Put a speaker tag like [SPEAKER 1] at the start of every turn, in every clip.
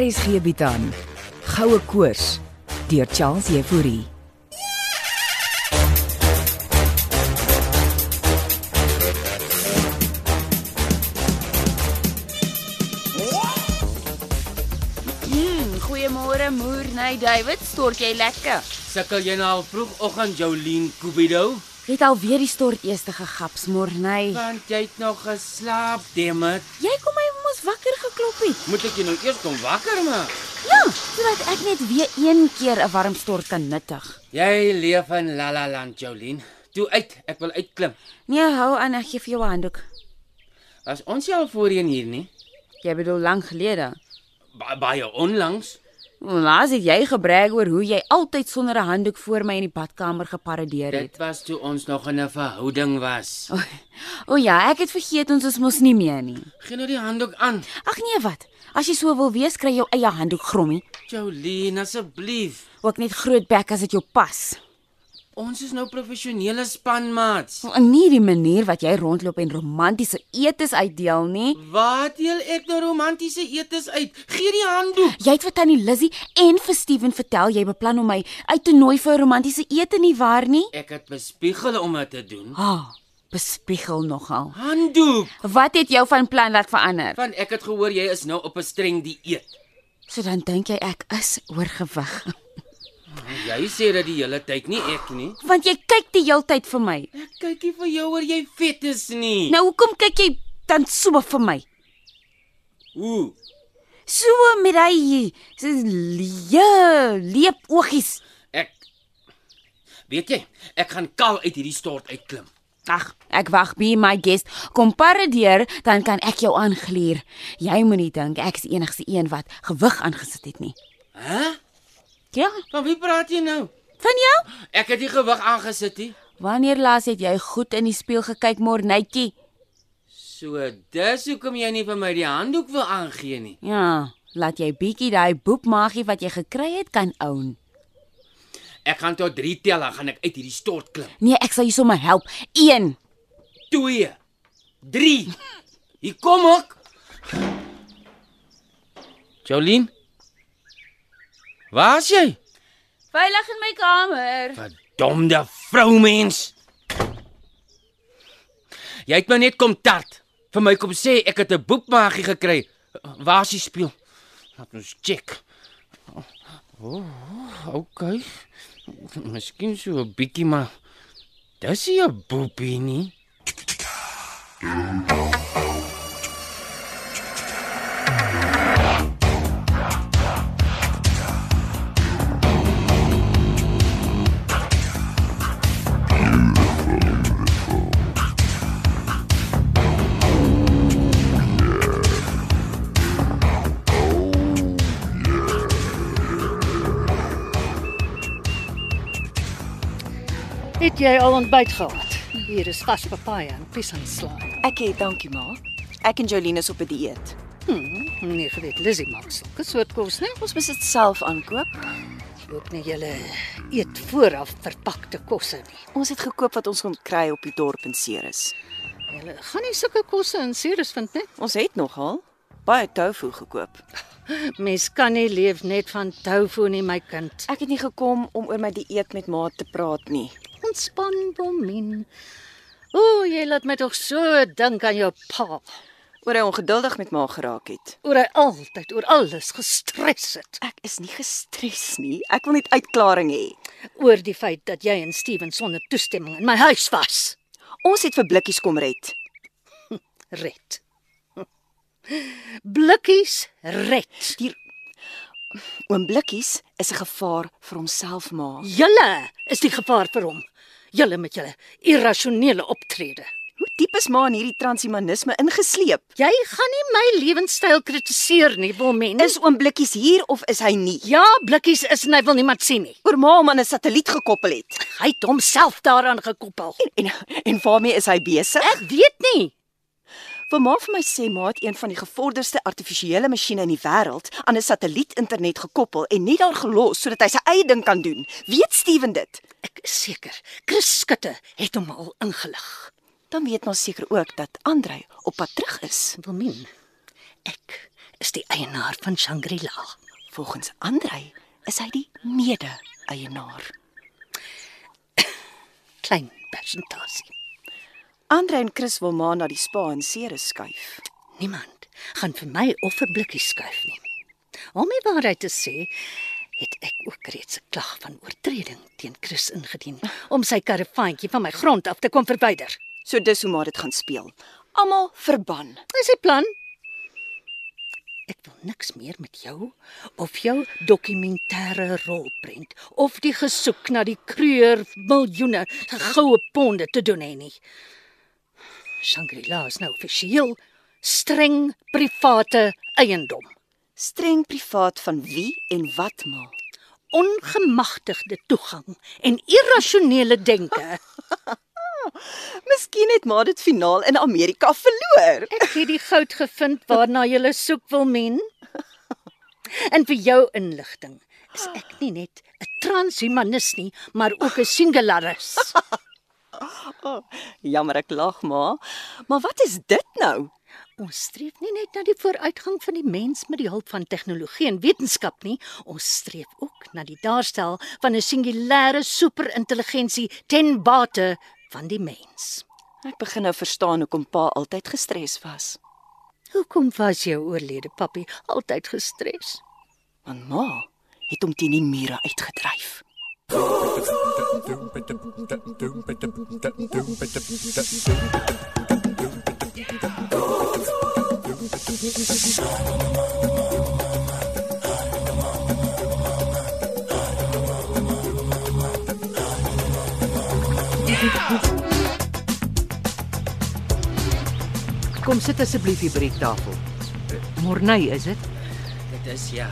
[SPEAKER 1] RSG bied aan Goue Koors deur Charles Euphorie.
[SPEAKER 2] Mm, goeiemôre moer, nee David, stort jy lekker?
[SPEAKER 3] Sukkel jy nou al vroegoggend Jolien Kubido?
[SPEAKER 2] Jy het alweer die stort eers gegaps, Morney.
[SPEAKER 3] Want jy het nog nou, geslaap, Demet.
[SPEAKER 2] Jy kom my mos wakker geklop het.
[SPEAKER 3] Moet ek jou nou eers kom wakker maak?
[SPEAKER 2] Ja, sodat ek net weer een keer 'n warm stort kan nuttig.
[SPEAKER 3] Jy leef in La La Land, Jolien. Toe uit, ek wil uitklim.
[SPEAKER 2] Nee, hou aan, ek gee vir jou 'n handdoek.
[SPEAKER 3] Was ons nie al voorheen hier nie?
[SPEAKER 2] Jy bedoel lank gelede.
[SPEAKER 3] Ba baie onlangs.
[SPEAKER 2] Laas het jy gebrag oor hoe jy altyd sonder 'n handdoek voor my in die badkamer geparadeer het.
[SPEAKER 3] Dit was toe ons nog in 'n verhouding was.
[SPEAKER 2] O oh, ja, ek het vergeet ons is mos nie meer nie.
[SPEAKER 3] Geen nou die handdoek aan.
[SPEAKER 2] Ag nee, wat? As jy so wil wees, kry jou eie handdoek grommie.
[SPEAKER 3] Jolien, asseblief.
[SPEAKER 2] Ook net groot bek as dit jou pas.
[SPEAKER 3] Ons is nou professionele spanmaats.
[SPEAKER 2] Wel, Nie die manier wat jy rondloop en romantiese etes uitdeel nie.
[SPEAKER 3] Wat deel ek nou romantiese etes uit? Gee die handdoek.
[SPEAKER 2] Jy het vir Tannie Lizzy en vir Steven vertel jy beplan om my uit te nooi vir 'n romantiese ete nie waar nie?
[SPEAKER 3] Ek het bespiegel om dit te doen.
[SPEAKER 2] Ha, oh, bespiegel nogal.
[SPEAKER 3] Handdoek.
[SPEAKER 2] Wat het jou van plan laat verander?
[SPEAKER 3] Want ek het gehoor jy is nou op 'n streng dieet.
[SPEAKER 2] So dan dink jy ek is oorgewig.
[SPEAKER 3] Ja, Jy sê dat die hele tyd nie ek nie.
[SPEAKER 2] Want jy kyk die heeltyd vir my.
[SPEAKER 3] Ek kykie vir jou oor jy vet is nie.
[SPEAKER 2] Nou hoekom kyk jy dan so vir my?
[SPEAKER 3] Ooh,
[SPEAKER 2] So met daai so leë leep oogies.
[SPEAKER 3] ek Weet jy, ek gaan kaal uit hierdie stort uitklim.
[SPEAKER 2] Ag, ek wag by my guest. Kom paradeer, dan kan ek jou aangluur. Jy moenie dink ek is die enigste een wat gewig aangesit het nie.
[SPEAKER 3] Hæ?
[SPEAKER 2] Ja,
[SPEAKER 3] Van wie praat jy nou?
[SPEAKER 2] van jou?
[SPEAKER 3] Ek het die gewig aangesit nie.
[SPEAKER 2] Wanneer laas het jy goed in die spieël gekyk, Mornetjie?
[SPEAKER 3] So, dis hoekom jy nie vir my die handdoek wil aangee nie.
[SPEAKER 2] Ja, laat jy bietjie daai boepmaagie wat jy gekry het kan own.
[SPEAKER 3] Ek gaan tot 3 tel, dan gaan ek uit hierdie stort klim.
[SPEAKER 2] Nee, ek sal jou sommer help. 1.
[SPEAKER 3] 2 3 Hier kom ek. Jolien? Waar's jy?
[SPEAKER 2] Veilig in my kamer.
[SPEAKER 3] Verdomde vroumens. Jy het my net kom tart. Vir my kom sê ek het 'n boekmaagie gekry. Waar's die speel? Laat ons check. O, oh, okay. Miskien so 'n bietjie maar dis nie 'n boepie nie.
[SPEAKER 4] Het jy al ontbyt gehad? Hier is vars papaja en piesanslaai.
[SPEAKER 5] Ek het, dankie ma. Ek en Jolene is op 'n die dieet.
[SPEAKER 4] Nee, geweet, Lizzie maak sulke soort kos, né?
[SPEAKER 5] Ons moet dit self aankoop.
[SPEAKER 4] Ook nie julle eet vooraf verpakte kosse nie.
[SPEAKER 5] Ons het gekoop wat ons kon kry op die dorp in Ceres.
[SPEAKER 4] Julle gaan nie sulke kosse in Ceres vind nie.
[SPEAKER 5] Ons het nogal baie tofu gekoop.
[SPEAKER 4] Mens kan nie leef net van tofu nie, my kind.
[SPEAKER 5] Ek het nie gekom om oor my dieet met ma te praat nie.
[SPEAKER 4] Ontspan, Bomin. O, jy laat my tog so dink aan jou pa.
[SPEAKER 5] Oor hy ongeduldig met ma geraak het.
[SPEAKER 4] Oor hy altyd oor alles gestres het.
[SPEAKER 5] Ek is nie gestres nie. Ek wil net uitklaring hê.
[SPEAKER 4] Oor die feit dat jy en Steven sonder toestemming in my huis was.
[SPEAKER 5] Ons het vir blikkies kom red.
[SPEAKER 4] red. Blikkies red.
[SPEAKER 5] Die oom Blikkies is 'n gevaar vir homself ma.
[SPEAKER 4] Julle is die gevaar vir hom. Julle met julle irrasionele optrede.
[SPEAKER 5] Hoe diep is ma in hierdie transhumanisme ingesleep?
[SPEAKER 4] Jy gaan nie my lewenstyl kritiseer nie, Wilmen.
[SPEAKER 5] Is oom Blikkies hier of is hy nie?
[SPEAKER 4] ja, blikkies is en hy wil niemand sien nie.
[SPEAKER 5] oor ma om aan 'n satelliet gekoppel het.
[SPEAKER 4] Hy het homself daaraan gekoppel.
[SPEAKER 5] En en waarmee is hy besig?
[SPEAKER 4] Ek weet nie.
[SPEAKER 5] Vir ma vir my sê ma het een van die gevorderdste artifisiële masjiene in die wêreld aan 'n satelliet internet gekoppel en net daar gelos sodat hy sy eie ding kan doen. Weet Steven dit?
[SPEAKER 4] Ek is seker. Chris Skutte het hom al ingelig.
[SPEAKER 5] Dan weet ma seker ook dat Andrei op pad terug is.
[SPEAKER 4] Wilmen, ek is die eienaar van Shangri-La.
[SPEAKER 5] Volgens Andrei is hy die mede-eienaar.
[SPEAKER 4] Klein persentasie.
[SPEAKER 5] Andrei en Chris wil maar na die spa in Ceres skuif.
[SPEAKER 4] Niemand gaan vir my offerblikkies skuif nie. Om die waarheid te sê, het ek ook reeds 'n klag van oortreding teen Chris ingedien om sy karavaantjie van my grond af te kom verwyder.
[SPEAKER 5] So dis hoe maar dit gaan speel. Almal verban.
[SPEAKER 4] Dis sy plan. Ek wil niks meer met jou of jou dokumentêre rolprent of die gesoek na die kreur miljoene goue ponde te doen hê nie. Shangri-La is nou offisieel streng private eiendom.
[SPEAKER 5] Streng privaat van wie en wat maal.
[SPEAKER 4] Ongemagtigde toegang en irrasionele denke.
[SPEAKER 5] Miskien het maar dit finaal in Amerika verloor.
[SPEAKER 4] Ek het die goud gevind waarna jy soek wil men. En vir jou inligting is ek nie net 'n transhumanis nie, maar ook 'n singularis.
[SPEAKER 5] Jammer ek lag maar. Maar wat is dit nou?
[SPEAKER 4] Ons streef nie net na die vooruitgang van die mens met die hulp van tegnologie en wetenskap nie, ons streef ook na die daarstel van 'n singulêre superintelligensie ten bate van die mens.
[SPEAKER 5] Ek begin nou verstaan hoekom pa altyd gestres was.
[SPEAKER 4] Hoekom was jou oorlede pappie altyd gestres?
[SPEAKER 5] Want ma het hom teen die mure uitgedryf.
[SPEAKER 6] Kom sit asseblief hier by die tafel. Morney is dit?
[SPEAKER 3] Dit is ja.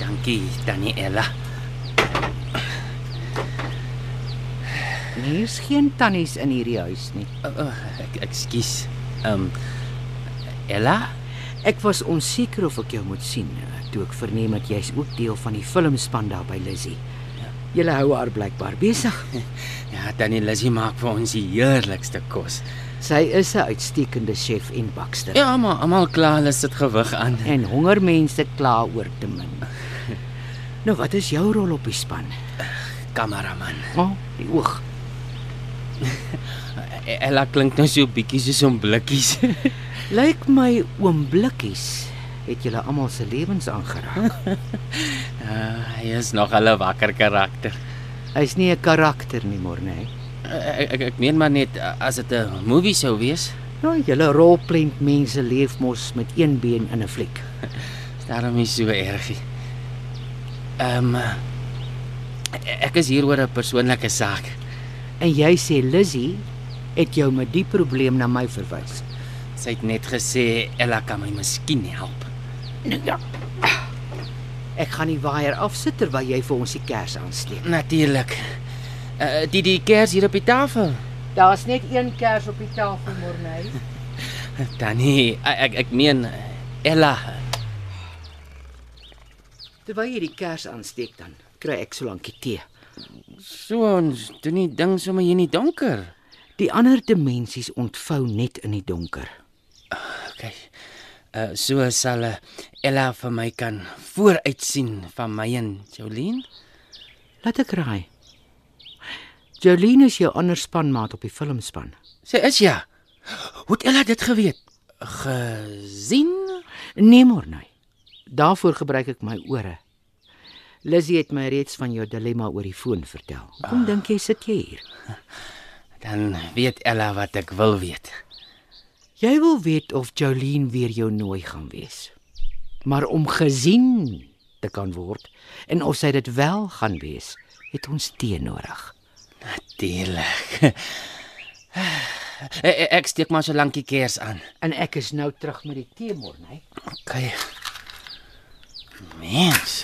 [SPEAKER 3] Dankie, Tannie Ella.
[SPEAKER 6] Hier's geen tannies in hierdie huis nie.
[SPEAKER 3] Oh, oh, ek ekskuus. Ehm um, Ella,
[SPEAKER 6] Ek was onseker of ek jou moet sien eh, toe ek verneem dat jy's ook deel van die filmspan daar by Lizzy. Julle hou haar blykbaar besig.
[SPEAKER 3] ja, Tannie Lizzie maak vir ons die heerlikste kos.
[SPEAKER 6] Sy is 'n uitstekende chef en bakster.
[SPEAKER 3] Ja, maar almal kla hulle sit gewig aan.
[SPEAKER 6] En honger mense kla oor te min. Nou wat is jou rol op die span?
[SPEAKER 3] Kameraman.
[SPEAKER 6] O, oh, die oog.
[SPEAKER 3] E- Ella klink nou so bietjie soos 'n blikkies.
[SPEAKER 6] Lyk my oom Blikkies het julle almal se lewens aangeraak.
[SPEAKER 3] Uh, hy is nog 'n wakker karakter.
[SPEAKER 6] Hy's nie 'n karakter nie, nee. Morney.
[SPEAKER 3] Eh, Ek ek, ek meen maar net eh, as dit 'n movie sou wees,
[SPEAKER 6] Nou, julle rolprent mense leef mos met een been in 'n fliek.
[SPEAKER 3] is daarom nie so erg nie. Ehm eh, e-, ek is hier oor 'n persoonlike saak.
[SPEAKER 6] En jy sê Lizzy het jou met die probleem na my verwys.
[SPEAKER 3] Sy het net gesê Ella kan my miskien help.
[SPEAKER 6] Ek gaan die waier afsit terwyl jy vir ons die kers aansteek.
[SPEAKER 3] Natuurlik. Uh, die die kers hier op die tafel.
[SPEAKER 6] Daar's net een kers op die tafel, Morney.
[SPEAKER 3] Tannie, eh, ek ek meen eh, Ella.
[SPEAKER 6] Terwyl jy die kers aansteek dan kry ek so lankie tee.
[SPEAKER 3] So ons doen nie ding sommer hier in die donker.
[SPEAKER 6] Die ander dimensies ontvou net in die donker.
[SPEAKER 3] Okay. Uh, so sal eh, Ella vir my kan vooruitsien van my en Jolene.
[SPEAKER 6] Laat ek raai. Jolene is jou ander spanmaat op die filmspan.
[SPEAKER 3] Sy is ja. Hoe het Ella dit geweet? Gesien?
[SPEAKER 6] Nee, Morney. Daarvoor gebruik ek my ore. Lizzie het my reeds van jou dilemma oor die foon vertel. Kom dink jy sit jy hier?
[SPEAKER 3] Dan weet Ella wat ek wil weet.
[SPEAKER 6] Jy wil weet of Jolene weer jou nooi gaan wees. Maar om gesien te kan word en of sy dit wel gaan wees, het ons tee nodig.
[SPEAKER 3] Natuurlik. Eh, eh, Ek steek maar so lank die kers aan.
[SPEAKER 6] En ek is nou terug met die tee, Morney.
[SPEAKER 3] Okay. Mens.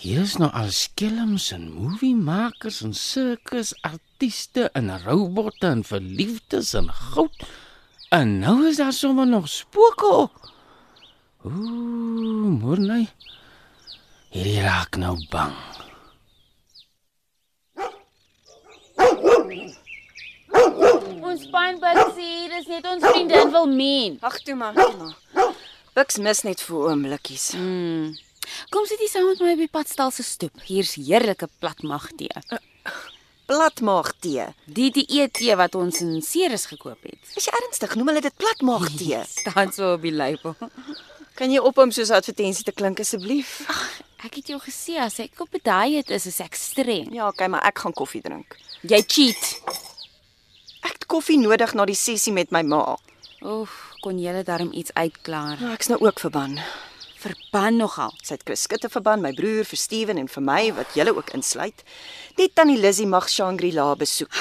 [SPEAKER 3] Hier is nou al skelms en moviemakers en sirkusartiste en robotte en verliefdes en goud. En nou is daar sommer nog spooke op. Ooh, Morney. Hierdie raak nou bang.
[SPEAKER 2] Ons spanbuk sê dis net ons vriendin wil men.
[SPEAKER 5] Wag toe maar, toe maar. Piks mis net vir oomblikkies.
[SPEAKER 2] Mm. Kom sit hier saam met my op die padstal se stoep. Hier's heerlike platmagtee.
[SPEAKER 5] Platmaag tee.
[SPEAKER 2] Die dieet tee wat ons in Ceres gekoop het.
[SPEAKER 5] Is jy ernstig? Noem hulle dit platmaag tee?
[SPEAKER 2] Staan so op die label.
[SPEAKER 5] Kan jy ophou om soos 'n advertensie te klink asseblief?
[SPEAKER 2] Ek het jou gesê as ek op 'n dieet is, is ek streng.
[SPEAKER 5] Ja, okay, maar ek gaan koffie drink.
[SPEAKER 2] Jy cheat.
[SPEAKER 5] Ek het koffie nodig na die sessie met my ma.
[SPEAKER 2] Oef, kon jy darm iets uitklaar?
[SPEAKER 5] Nou, ek's nou ook verban.
[SPEAKER 2] Verban nogal.
[SPEAKER 5] Sy het Chris Skutte verban, my broer, vir Steven en vir my wat julle ook insluit. Net tannie Lizzy mag Shangri-La besoek.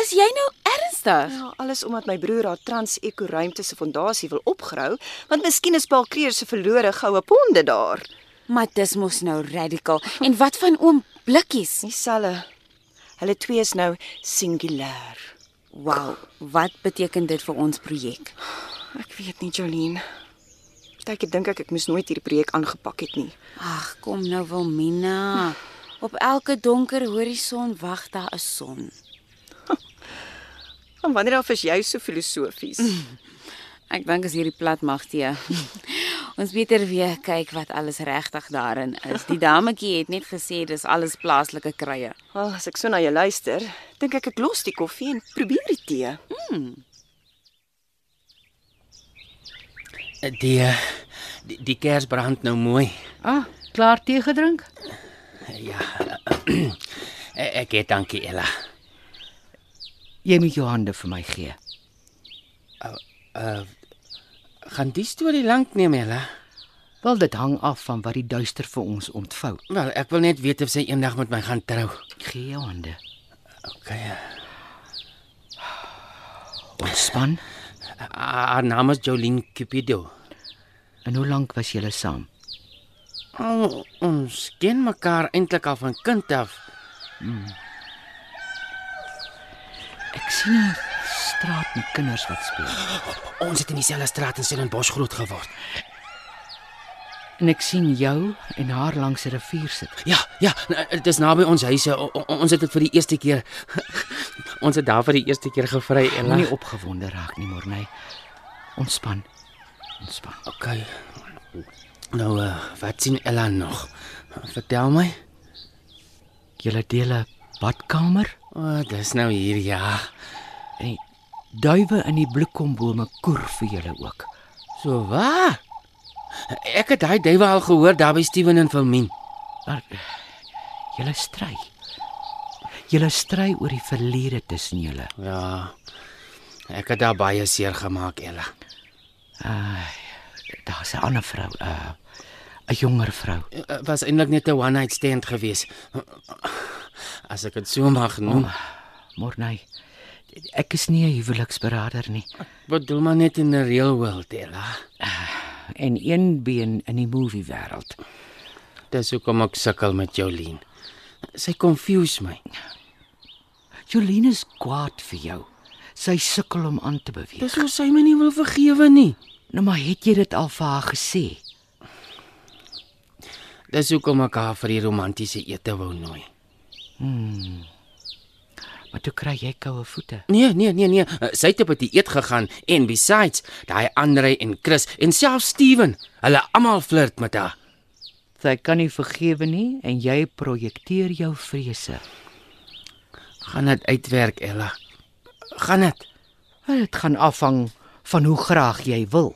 [SPEAKER 2] Is jy nou ernstig?
[SPEAKER 5] Ja, alles omdat my broer haar Trans-Eko Ruimte se fondasie wil opgrou, want miskien is Paul Kreer se verlore goue ponde daar.
[SPEAKER 2] Maar dis mos nou radical. En wat van oom Blikkies?
[SPEAKER 5] Dieselfde. Hulle twee is nou singulêr.
[SPEAKER 2] Wow, wat beteken dit vir ons projek?
[SPEAKER 5] Ek weet nie, Jolene. Partykeer dink ek ek moes nooit hierdie projek aangepak het nie.
[SPEAKER 2] Ag, kom nou Wilmina. Op elke donker horison wag daar 'n son.
[SPEAKER 5] En wanneer af is jy so filosofies?
[SPEAKER 2] Ek dink as hierdie plat mag tee. Ons beter weer kyk wat alles regtig daarin is. Die dametjie het net gesê dis alles plaaslike kruie.
[SPEAKER 5] Wel, as ek so na jou luister, dink ek ek los die koffie en probeer die tee.
[SPEAKER 3] Eh, Die die, die kers brand nou mooi.
[SPEAKER 6] Ah, klaar tee gedrink?
[SPEAKER 3] Ja. Eh, Ek ek dankie Ella.
[SPEAKER 6] Jy moet jou hande vir my gee.
[SPEAKER 3] Gaan die storie lank neem Ella?
[SPEAKER 6] Wel dit hang af van wat die duister vir ons ontvou.
[SPEAKER 3] Wel, ek wil net weet of sy eendag met my gaan trou.
[SPEAKER 6] Gee jou hande.
[SPEAKER 3] OK.
[SPEAKER 6] Ontspan.
[SPEAKER 3] Ah, Haar naam is Jolene Cupido.
[SPEAKER 6] En hoe lank was julle saam?
[SPEAKER 3] Oh, ons ken mekaar eintlik al van kind af.
[SPEAKER 6] Ek sien 'n straat met kinders wat speel.
[SPEAKER 3] Ons het in dieselfde straat in Stellenbosch groot geword.
[SPEAKER 6] En ek sien jou en haar langs 'n rivier sit.
[SPEAKER 3] Ja, ja, n- dit is naby ons huise. O, o, ons het dit vir die eerste keer ons het daar vir die eerste keer gevry Ella.
[SPEAKER 6] Moenie opgewonde raak nie, Morney. Ontspan. Ontspan.
[SPEAKER 3] OK. Nou, uh, wat sien Ella nog? Vertel my.
[SPEAKER 6] Julle deel 'n badkamer
[SPEAKER 3] O, oh, dis nou hier ja.
[SPEAKER 6] en die duwe in die bloekombome koer vir julle ook.
[SPEAKER 3] So waar? Ek het daai duwe al gehoor daar by Steven en Filmin.
[SPEAKER 6] Maar eh, julle stry. Julle stry oor die verlede tussen julle.
[SPEAKER 3] Ja. Ek het daar baie seer gemaak, Ella.
[SPEAKER 6] Daar's 'n ander vrou, 'n 'n jonger vrou.
[SPEAKER 3] Eh, Was eintlik net 'n one night stand geweest. As ek dit so mag noem.
[SPEAKER 6] Ah, Morney. Ek is nie 'n huweliksberader nie.
[SPEAKER 3] Wat doen maar net in die real world, Ella?
[SPEAKER 6] En een been in die movie wêreld.
[SPEAKER 3] Dis hoekom ek sukkel met Jolene. Sy confuse my.
[SPEAKER 6] Jolene is kwaad vir jou. Sy sukkel om aan te beweeg.
[SPEAKER 3] Dis hoe sy my nie wil vergewe nie.
[SPEAKER 6] Nou maar het jy dit al vir haar gesê?
[SPEAKER 3] Dis hoekom ek haar vir die romantiese ete wou nooi.
[SPEAKER 6] Maar toe kry jy koue voete.
[SPEAKER 3] Nee, nee, nee, nee. Sy het op die eet gegaan en besides, daai Andre en Chris en selfs Steven, hulle almal flirt met haar.
[SPEAKER 6] Sy kan nie vergewe nie en jy projekteer jou vrese.
[SPEAKER 3] Gaan dit uitwerk, Ella? Gaan dit?
[SPEAKER 6] Maar Dit gaan afhang van hoe graag jy wil.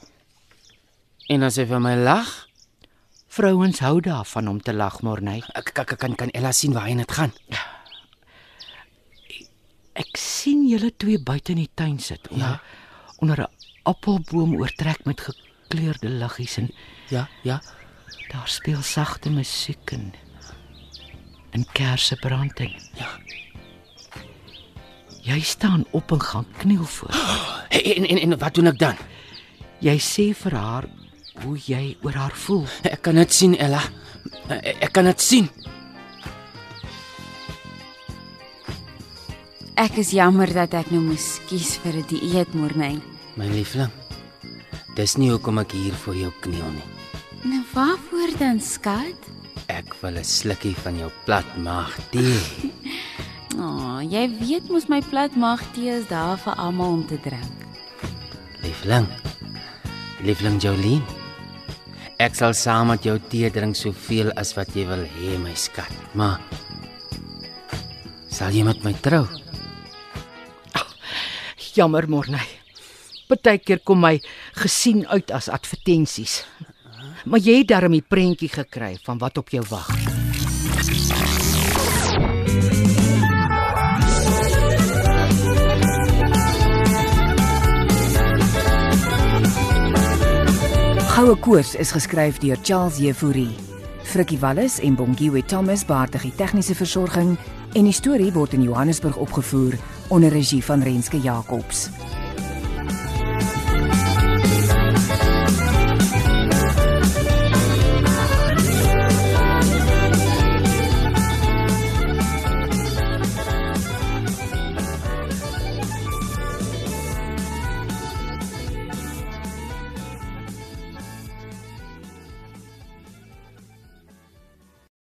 [SPEAKER 3] En as sy vir my lag,
[SPEAKER 6] Vrouens hou daarvan om te lag, Morney.
[SPEAKER 3] ek kan kan kan Ella sien waarheen dit gaan.
[SPEAKER 6] Ek sien julle twee buite in die tuin sit onder ja. onder 'n appelboom oortrek met gekleurde liggies en
[SPEAKER 3] Ja, ja.
[SPEAKER 6] daar speel sagte musiek en en kersse brand en
[SPEAKER 3] Ja.
[SPEAKER 6] Jy staan op en gaan kniel voor.
[SPEAKER 3] En en en wat doen ek dan?
[SPEAKER 6] Jy sê vir haar hoe jy oor haar voel.
[SPEAKER 3] Ek kan dit sien, Ella. Ek ek kan dit sien.
[SPEAKER 2] Ek is jammer dat ek nou moes kies vir 'n die dieet môre.
[SPEAKER 3] My liefling, dis nie hoekom ek hier voor jou kniel nie.
[SPEAKER 2] Nou waarvoor dan, skat?
[SPEAKER 3] Ek wil 'n slukkie van jou plat maag tee.
[SPEAKER 2] O, oh, jy weet mos my platmagtee is daar vir almal om te drink.
[SPEAKER 3] Liefling. Liefling Jolene, Ek sal saam met jou tee drink soveel as wat jy wil hê, my skat. Maar sal jy met my trou?
[SPEAKER 7] Jammer, Morney. Partykeer kom my gesien uit as advertensies. Maar jy het darm die prentjie gekry van wat op jou wag.
[SPEAKER 6] Goue Koors is geskryf deur Charles Jefouri. Frikkie Wallis en Bongiwe Thomas baartig die tegniese versorging en die storie word in Johannesburg opgevoer onder regie van Renske Jacobs.